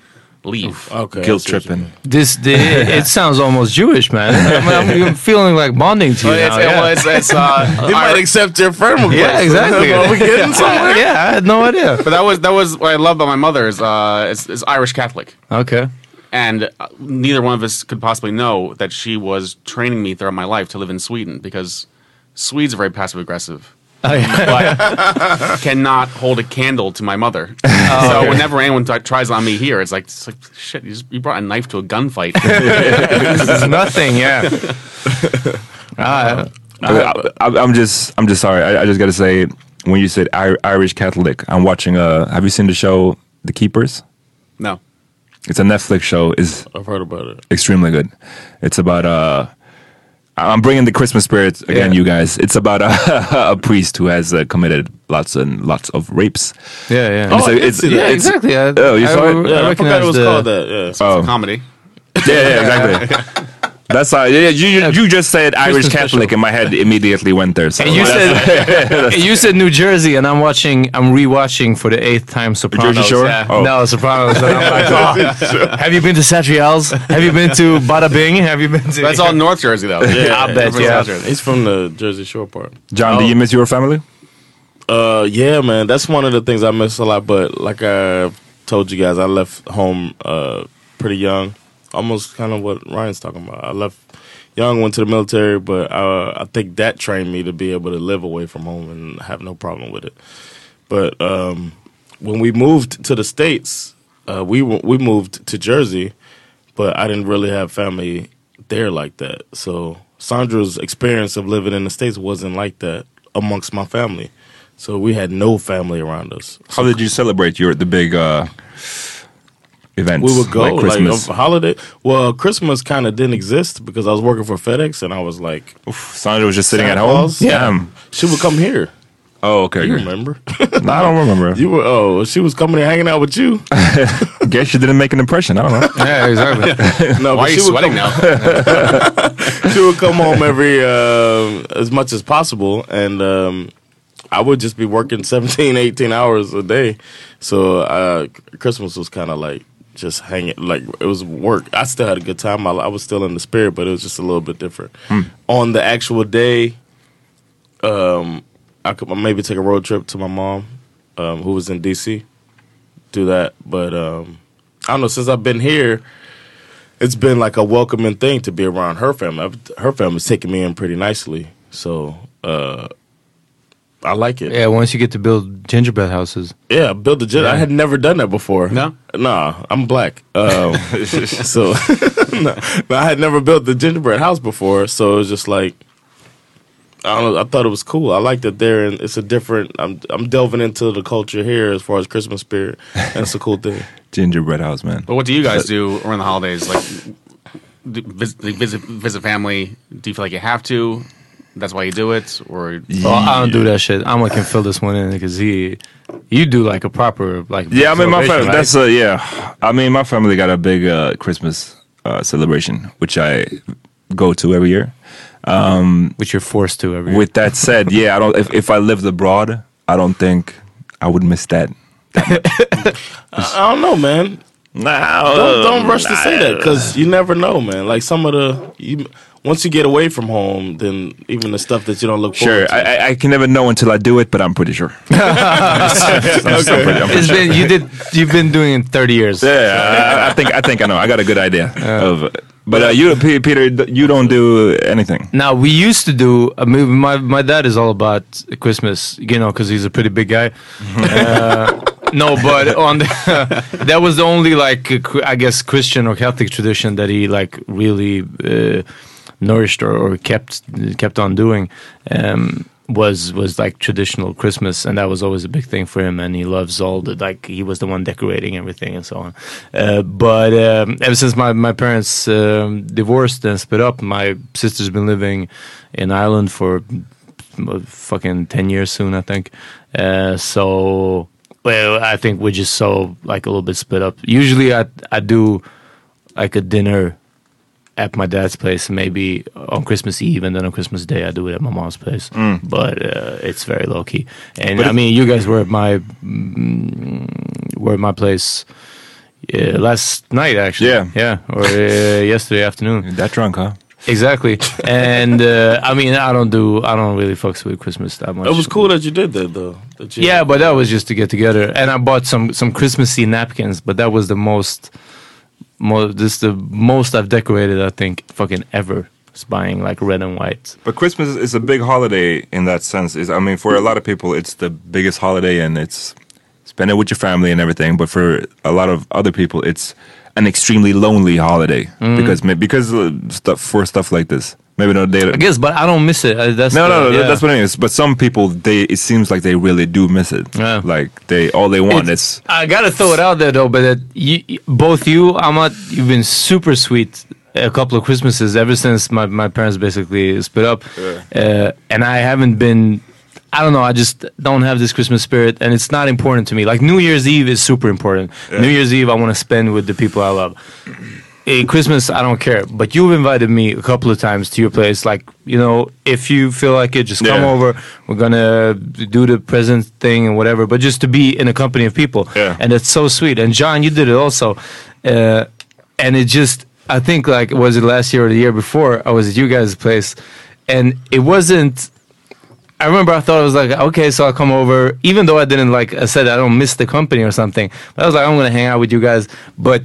D: leave.
A: Okay, I
B: Guilt
A: see what you
B: tripping.
A: mean.
E: This the, it sounds almost Jewish, man. I'm, I'm, feeling like bonding to you
D: But Oh, it's,
E: now. yeah.
D: well, it's, it's, uh,
A: They might accept your friend request.
E: Yeah, exactly.
A: Are we getting somewhere?
E: yeah, I had no idea.
D: but that was that was what I love about my mother is uh is, is Irish Catholic.
E: Okay.
D: and uh, neither one of us could possibly know that she was training me throughout my life to live in Sweden because Swedes are very passive aggressive. but cannot hold a candle to my mother. so whenever anyone t- tries on me here, it's like, it's like shit. You, just, you brought a knife to a gunfight.
E: It's nothing, yeah. Ah,
B: I, I, I'm just, I'm just sorry. I, I just got to say, when you said Ir- Irish Catholic, I'm watching. Uh, have you seen the show The Keepers?
D: no,
B: It's a Netflix show. It's
A: I've heard about it.
B: extremely good. It's about uh, I'm bringing the Christmas spirit again,
E: Yeah.
B: you guys. It's about a, a priest who has uh, committed lots and lots of rapes.
E: yeah, yeah.
B: And so
A: Oh, I did see that.
E: yeah, exactly. I,
B: Oh, you
E: I,
B: saw it?
E: re-
B: Yeah, I
A: I, forgot
E: recognize
A: it was
E: the-
A: called that. Yeah.
B: Oh.
D: comedy.
B: Yeah, yeah, exactly. That's how. Yeah, you you, you just said Irish
E: Christmas
B: Catholic, and my head immediately went there. So
E: And you said you said New Jersey, and I'm watching. I'm rewatching for the eighth time Sopranos.
B: Shore?
E: Yeah.
B: Oh.
E: No, Sopranos. And I'm like, "Oh, have you been to Satriel's? Have you been to Bada Bing? Have you been to?
D: That's all North Jersey though.
A: Yeah, I
E: bet, yeah.
D: North Jersey.
A: He's from the Jersey Shore part.
B: John, do you miss your family?
A: Uh, yeah, man, that's one of the things I miss a lot. But like I told you guys, I left home uh, pretty young, almost kind of what Ryan's talking about. I left young, went to the military, but uh, I think that trained me to be able to live away from home and have no problem with it. But um, when we moved to the states, uh, we w- we moved to Jersey, but I didn't really have family there like that. So Sandra's experience of living in the states wasn't like that amongst my family. So we had no family around us.
B: How did you celebrate your the big uh, events?
A: We would go
B: like
A: like,
B: Christmas.
A: a holiday. Well, Christmas kind of didn't exist because I was working for FedEx, and I was like,
B: Sandra was just sitting
A: Santa
B: at home.
A: Claus? Yeah.
B: Damn.
A: she would come here.
B: Oh, okay.
A: You
B: okay.
A: remember?
B: No, I don't remember.
A: you were oh, she was coming and hanging out with you.
B: Guess you didn't make an impression. I don't know.
D: Yeah, exactly.
A: No,
D: Why are
A: but she
D: you
A: would
D: sweating
A: come-
D: now?
A: she would come home every uh, as much as possible and um, i would just be working 17 18 hours a day so uh, christmas was kind of like just hanging like it was work i still had a good time i, I was still in the spirit but it was just a little bit different on the actual day um, i could maybe take a road trip to my mom um, who was in dc do that but um, i don't know since i've been here it's been like a welcoming thing to be around her family. I've- Her family's taking me in pretty nicely, so uh, I like it.
E: Yeah, once you get to build gingerbread houses.
A: Yeah, build a jet. I had never done that before.
D: No?
A: nah, I'm black. Um, so no, no, I had never built the gingerbread house before. So it was just like I don't know. I thought it was cool. I like that there, and it's a different. I'm I'm delving into the culture here as far as Christmas spirit. And it's a cool thing.
B: Gingerbread house, man.
D: But what do you guys do around the holidays? Like, do, visit, like, visit visit family? Do you feel like you have to? That's why you do it, or
E: Oh, I don't do that shit. I'm like, can fill this one in because he, you do like a proper like.
B: Yeah, I mean my
E: celebration,
B: family.
E: right?
B: That's uh, yeah. I mean my family got a big uh, Christmas uh, celebration, which I go to every year. Um,
E: which you're forced to every.
B: With that said, yeah, I don't. If, if I lived abroad, I don't think I would miss that.
A: I don't know, man.
B: Nah,
A: don't, don't rush to say that because you never know, man. Like some of the you, once you get away from home, then even the stuff that you don't look
B: Sure,
A: forward to.
B: I, I- I can never know until I do it, but I'm pretty sure. I'm so pretty- I'm pretty
E: It's been you did you've been doing it 30 years.
B: Yeah, I, I think I think I know. I got a good idea of. But uh, you, P- Peter, d- you don't do anything.
E: Now we used to do. I mean, my my dad is all about Christmas, you know, because he's a pretty big guy. Uh, no, but on the, that was the only like uh, cr- I guess Christian or Catholic tradition that he like really uh, nourished or, or kept kept on doing um, was was like traditional Christmas, and that was always a big thing for him. And he loves all the like he was the one decorating everything and so on. Uh, but um, ever since my my parents um, divorced and split up, my sister's been living in Ireland for uh, fucking 10 years soon i think uh, so well i think we're just so like a little bit split up usually i i do like a dinner at my dad's place maybe on christmas eve and then on christmas day i do it at my mom's place
A: Mm.
E: but uh, it's very low-key and i mean you guys were at my mm, were at my place uh, last night actually
B: Yeah.
E: yeah or uh, yesterday afternoon
B: That drunk, huh?
E: Exactly, and uh, I mean, I don't do, I don't really fucks with Christmas that much.
A: it was cool that you did that though. That you,
E: yeah, but that was just to get together, and I bought some some Christmassy napkins, but that was the most, most this the most I've decorated, I think, fucking ever. Is buying like red and white.
B: But Christmas is a big holiday in that sense. Is I mean, for a lot of people, it's the biggest holiday, and it's spend it with your family and everything. But for a lot of other people, it's an extremely lonely holiday because ma- because uh, stuff for stuff like this. Maybe no, they
E: I guess, but I don't miss it. Uh, That's
B: no,
E: the-
B: no, no.
E: yeah.
B: That's what I mean. But some people, they it seems like they really do miss it.
E: Yeah.
B: Like they all they want
E: It's-
B: is
E: I gotta throw it out there though, but that you, you- both you, Ahmad, you've been super sweet a couple of Christmases ever since my, my parents basically split up, uh, and I haven't been. I don't know. I just don't have this Christmas spirit, and it's not important to me. Like New Year's Eve is super important. New Year's Eve, I want to spend with the people I love. Eh, Christmas, I don't care. But you've invited me a couple of times to your place. Like, you know, if you feel like it, just come
B: Yeah.
E: over. We're gonna do the present thing and whatever. But just to be in a company of people,
B: Yeah.
E: and that's so sweet. And John, you did it also, uh, and it just. I think like was it last year or the year before? Uh, I was at you guys' place, and it wasn't. I remember I thought I was like, okay, so I'll come over, even though I didn't like. I said I don't miss the company or something. But I was like, I'm gonna hang out with you guys. But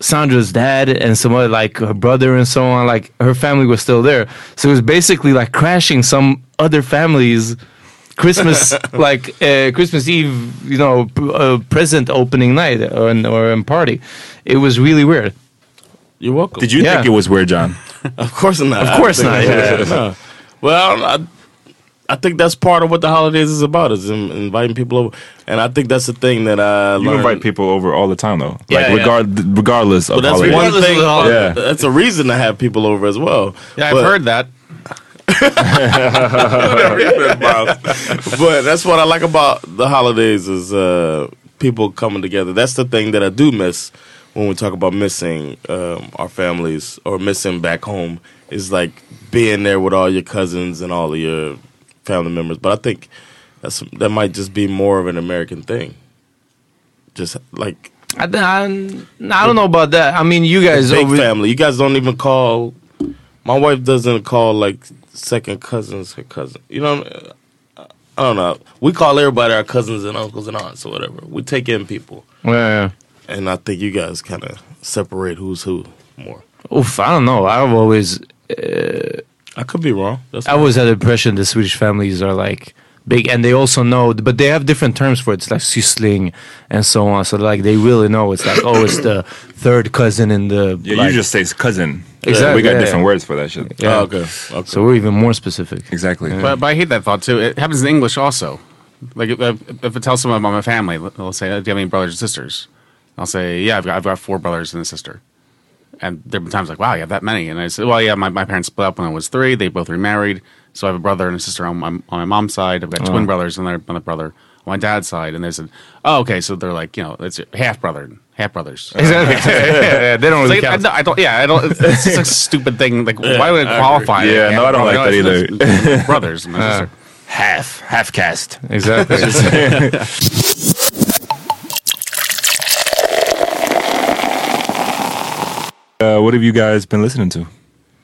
E: Sandra's dad and some other like her brother and so on, like her family was still there. So it was basically like crashing some other family's Christmas, like uh, Christmas Eve, you know, p- uh, present opening night or an, or a party. It was really weird.
A: you're welcome.
B: Did you
E: Yeah.
B: think it was weird, John?
A: Of course not.
E: Of course
A: I
E: not.
A: think-
E: Yeah.
A: No. Well, I, I think that's part of what the holidays is about is in, inviting people over, and I think that's the thing that I
B: You
A: learned.
B: invite people over all the time, though.
E: Yeah,
B: like
E: yeah.
B: regard regardless of
A: But that's
B: holiday.
A: one
E: Regardless of
A: thing.
E: the holiday.
B: Yeah.
A: That's a reason to have people over as well.
D: yeah, I've
A: But-
D: heard that.
A: Whatever it is, Miles. but that's what I like about the holidays is uh, people coming together. That's the thing that I do miss when we talk about missing um, our families or missing back home is like being there with all your cousins and all of your family members. But I think that's that might just be more of an American thing. Just like
E: I, th- I, I don't know about that. I mean, you guys
A: big
E: always-
A: family. You guys don't even call. My wife doesn't call like second cousins her cousin. You know, what I mean? I don't know. We call everybody our cousins and uncles and aunts or whatever. We take in people,
E: Yeah, yeah.
A: and I think you guys kind of separate who's who more.
E: Oof, I don't know. I've always
A: I could be wrong. That's
E: I always had the impression the Swedish families are like big, and they also know, but they have different terms for it. It's like syssling and so on. So like they really know. It's like oh, it's the third cousin in the.
B: Yeah,
E: like-
B: you just say it's cousin.
E: Exactly,
B: we got
E: yeah,
B: different
E: yeah.
B: words for that shit.
E: Yeah.
A: Oh, okay. okay.
E: So we're even more specific.
B: Exactly.
D: But, but I hate that thought too. It happens in English also. Like if, if if I tell someone about my family, they'll say, "Oh, "Do you have any brothers or sisters?" I'll say, "Yeah, I've got, I've got four brothers and a sister." And there have been times like, "Wow, you have that many?" And I said, "Well, yeah, my, my parents split up when I was three. They both remarried, so I have a brother and a sister on my on my mom's side. I've got
E: Oh.
D: twin brothers and another brother on my dad's side." And they said, "Oh, okay, so they're like, you know, it's half brother, half brothers."
E: Exactly. Yeah, they don't
D: It's
E: really
D: like, I,
E: count.
D: don't- I don't. Yeah, I don't. It's, it's just a stupid thing. Like, why would I qualify? it?
B: Yeah, no, I
E: Oh,
B: don't like that either.
D: it's- it's Brothers, my sister.
B: Half, half cast.
E: Exactly.
B: Uh, what have you guys been listening to?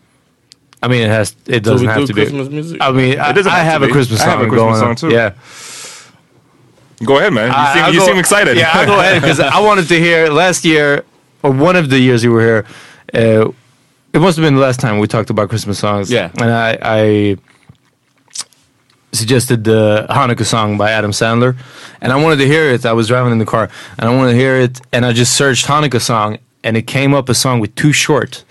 E: I mean, it has. It
A: So
E: doesn't
A: we
E: have
A: do
E: to
A: Christmas
E: be.
A: music.
E: I mean, I,
B: doesn't
E: I
B: have to
E: have a
B: be.
E: Christmas
B: I
E: song
B: have a Christmas
E: going on.
B: song, too.
E: Yeah.
B: Go ahead, man. You,
E: I-
B: seem,
E: I'll
B: you
E: go-
B: seem excited.
E: Yeah, I'll go ahead because I wanted to hear last year or one of the years you were here. Uh, it must have been the last time we talked about Christmas songs.
D: Yeah.
E: and I, I suggested the Hanukkah song by Adam Sandler, and I wanted to hear it. I was driving in the car, and I wanted to hear it, and I just searched Hanukkah song, and it came up a song with Too Short.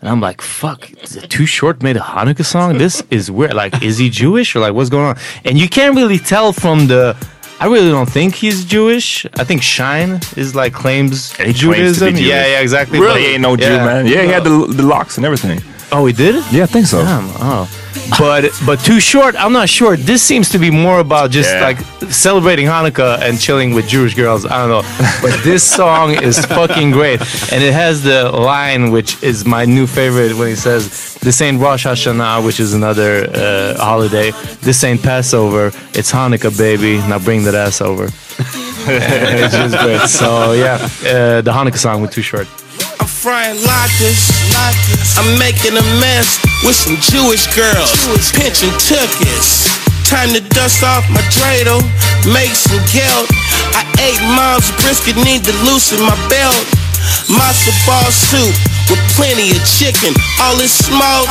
E: And I'm like, fuck, is it Too Short made a Hanukkah song? This is weird. Like, is he Jewish or like what's going on? And you can't really tell from the. I really don't think he's Jewish. I think Shine is like claims
B: He claims to be
E: Judaism.
B: Jewish.
E: Yeah, yeah, exactly.
B: Really?
E: But-
B: ain't no Jew,
E: yeah.
B: man. Yeah, he had the, the locks and everything.
E: Oh, he did?
B: Yeah, I think so.
E: Damn, oh. But but too short. I'm not sure. This seems to be more about just
B: Yeah.
E: like celebrating Hanukkah and chilling with Jewish girls. I don't know. But this song is fucking great, and it has the line which is my new favorite when he says, "This ain't Rosh Hashanah, which is another uh, holiday. This ain't Passover. It's Hanukkah, baby. Now bring that ass over." And it's just great. So yeah, uh, the Hanukkah song with Too Short.
G: I'm frying latkes. I'm making a mess with some Jewish girls. Pinching tuchus. Time to dust off my dreidel, make some gelt. I ate mom's brisket, need to loosen my belt. Matzo ball soup with plenty of chicken. All this smoke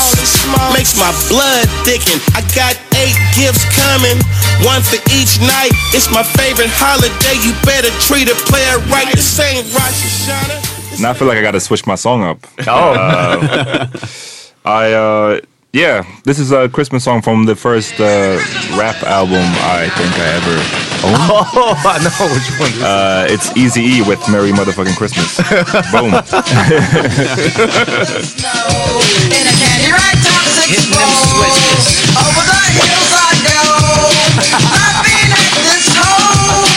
G: makes my blood thicken. I got eight gifts coming, one for each night. It's my favorite holiday. You better treat it, play it right. This ain't Rosh Hashanah.
B: Now I feel like I got to switch my song up. Oh. I, uh, yeah, this is a Christmas song from the first uh, rap album I think I ever owned.
E: Oh, I know which one.
B: Uh, it's Easy E with Merry Motherfucking Christmas. Boom.
G: In a candy rag toxic switches. Over the hills I go. I've been at this hole.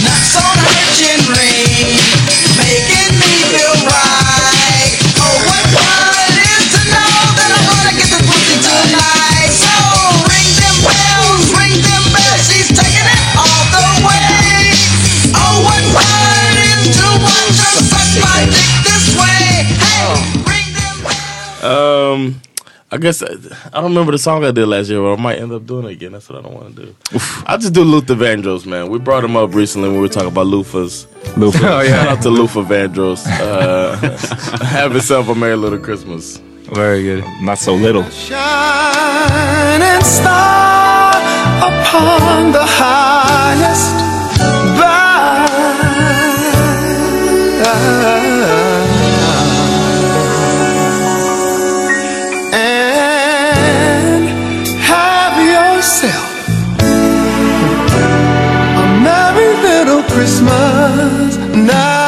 G: Knocks on urgent ring. Making me feel right. Oh, what fun it is to know that I'm gonna get the pussy tonight. So ring them bells, ring them bells. She's taking it all the way. Oh, what fun it is to watch her suck my dick this way. Hey, ring them bells.
A: Um, I guess I, I don't remember the song I did last year, but I might end up doing it again. That's what I don't want to do. I just do Luther Vandross, man. We brought him up recently when we were talking about loofahs.
E: Oh,
B: Lufa.
A: Shout out to Luther Vandross. Uh, have yourself a merry little Christmas.
E: Very good.
B: Not so little.
G: shining star upon the highest bough. And have yourself a merry little Christmas night.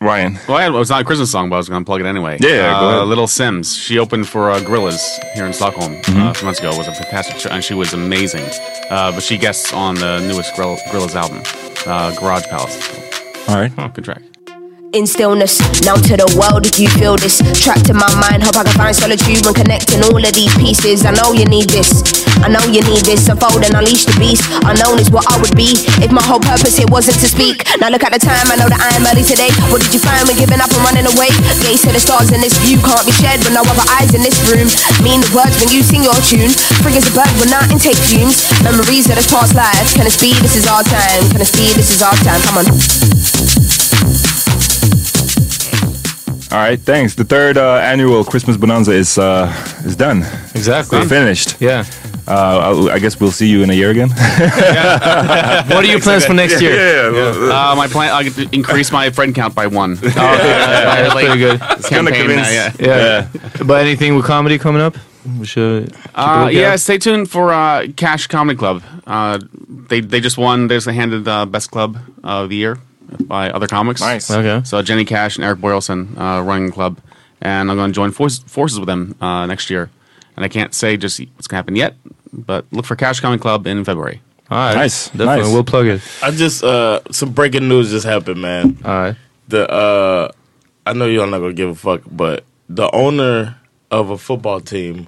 B: man.
D: Well, I had, it was not a Christmas song, but I was going to plug it anyway.
B: Yeah, yeah, go
D: Uh,
B: ahead.
D: Little Sims. She opened for uh, Gorillas here in Stockholm
B: Mm-hmm.
D: uh, a few months ago. It was a fantastic show, and she was amazing. Uh, but she guests on the newest Gorilla- Gorillas album, uh, Garage Palace.
B: All right.
E: Oh,
D: Good track.
H: in stillness. Now to the world, if you feel this, trapped in my mind, hope I can find solitude when connecting all of these pieces. I know you need this. I know you need this. Unfold and unleash the beast. Unknown is what I would be if my whole purpose here wasn't to speak. Now look at the time. I know that I am early today. What did you find when giving up and running away? Gaze to the stars in this view can't be shared with no other eyes in this room. Mean the words when you sing your tune. Free as a bird when I intake fumes. Memories of this past life. Can it be? This is our time. Can it be? This is our time. Come on.
B: All right, thanks. The third uh, annual Christmas Bonanza is uh, is done.
E: Exactly.
B: It's finished.
E: Yeah.
B: Uh, I, I guess we'll see you in a year again.
E: What are your plans for next year?
D: Uh,
A: Um,
D: my plan, I could increase my friend count by one. Oh,
E: that's pretty good.
D: It's gonna
E: convince- Yeah. But anything with comedy coming up? We should. keep a
D: Uh,
E: lookout.
D: yeah, stay tuned for uh, Cash Comedy Club. Uh, they they just won. They just handed uh, best club uh, of the year by other comics. Nice.
E: Okay.
D: So Jenny Cash and Eric Boylson uh, running the club, and I'm going to join forces, forces with them uh, next year. And I can't say just what's going to happen yet, but look for Cash Comedy Club in February.
E: All right.
B: Nice,
E: Definitely.
B: nice.
E: We'll plug it.
A: I just uh some breaking news just happened, man.
E: All right.
A: The uh I know y'all not gonna give a fuck, but the owner of a football team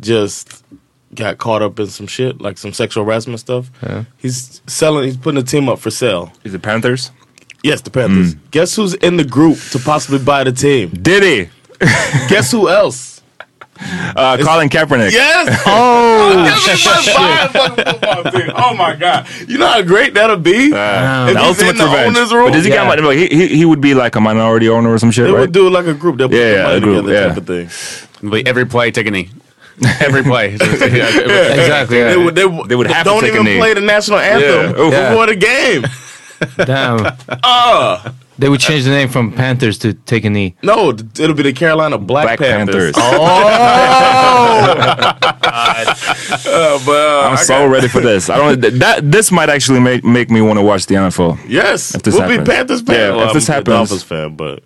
A: just got caught up in some shit, like some sexual harassment stuff.
E: Yeah.
A: He's selling he's putting the team up for sale.
B: Is it Panthers?
A: Yes, the Panthers. Guess who's in the group to possibly buy the team?
B: Diddy,
A: Guess who else?
B: uh, Colin Kaepernick.
A: Yes. Oh, oh my god! You know how great that'll be.
B: Uh, the
A: If he's
B: ultimate
A: in the
B: revenge.
A: owner's room?
B: But does he got money? Like, he, he, he would be like a minority owner or some shit,
A: They
B: right?
A: would do it like a group. They'll put
B: Yeah,
A: the
B: yeah,
A: money
B: a group,
A: together type
B: yeah.
A: of thing.
B: Mm.
D: But every play, take a knee. Every play. exactly.
A: They would. They, would-
B: They would have to
A: don't
B: take a
A: even
B: knee.
A: play the national anthem
B: Yeah. Oof.
A: before the game.
E: Damn. They would change the name from Panthers to Take a Knee.
A: No, th- it'll be the Carolina Black,
B: Black
A: Panthers. Oh,
B: Panthers.
A: Uh, but, uh,
B: I'm
A: I
B: so
A: got-
B: ready for this. I don't. th- That this might actually make make me want to watch the NFL.
A: Yes,
B: If this
A: we'll
B: happens.
A: be Panthers fan.
B: Yeah, if
A: I'm
B: this
A: a
B: happens.
A: Dolphins fan, but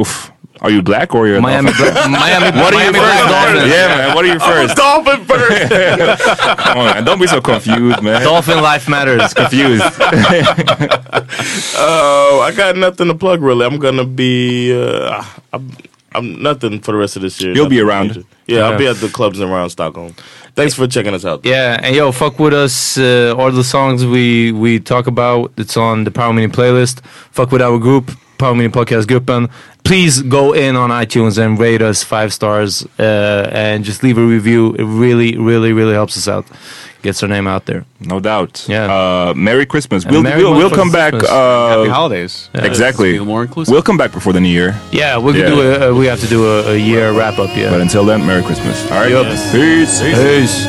B: Oof. Are you black or you're
E: Miami,
B: An
E: Bla- Miami,
B: what are you
E: Miami
B: first?
E: Black Dolphins.
B: Yeah, man. What are you first?
A: Dolphin first.
B: Come on, man. Don't be so confused, man.
E: Dolphin life matters.
B: confused.
A: Oh, I got nothing to plug really. I'm gonna be. Uh, I'm, I'm nothing for the rest of this year.
B: You'll be
A: Nothing
B: around.
A: major. Yeah, I'll be at the clubs around Stockholm. Thanks for checking us out.
E: Yeah, and yo, fuck with us. Uh, all the songs we we talk about, it's on the Power Meeting playlist. Fuck with our group, Power Meeting Podcast Gruppen. Please go in on iTunes and rate us five stars uh, and just leave a review. It really, really, really helps us out. Gets our name out there.
B: No doubt.
E: Yeah.
B: Uh, Merry Christmas. We'll,
E: Merry
B: we'll, we'll come back.
E: Christmas.
D: Happy
B: Uh,
D: holidays.
B: exactly.
D: Be more inclusive.
B: We'll come back before the new year.
E: Yeah, we could
B: Yeah.
E: do a, uh, we have to do a, a year wrap up.
B: But
E: Yeah.
B: until then, Merry Christmas. All right.
A: Yes.
B: Peace.
E: Peace.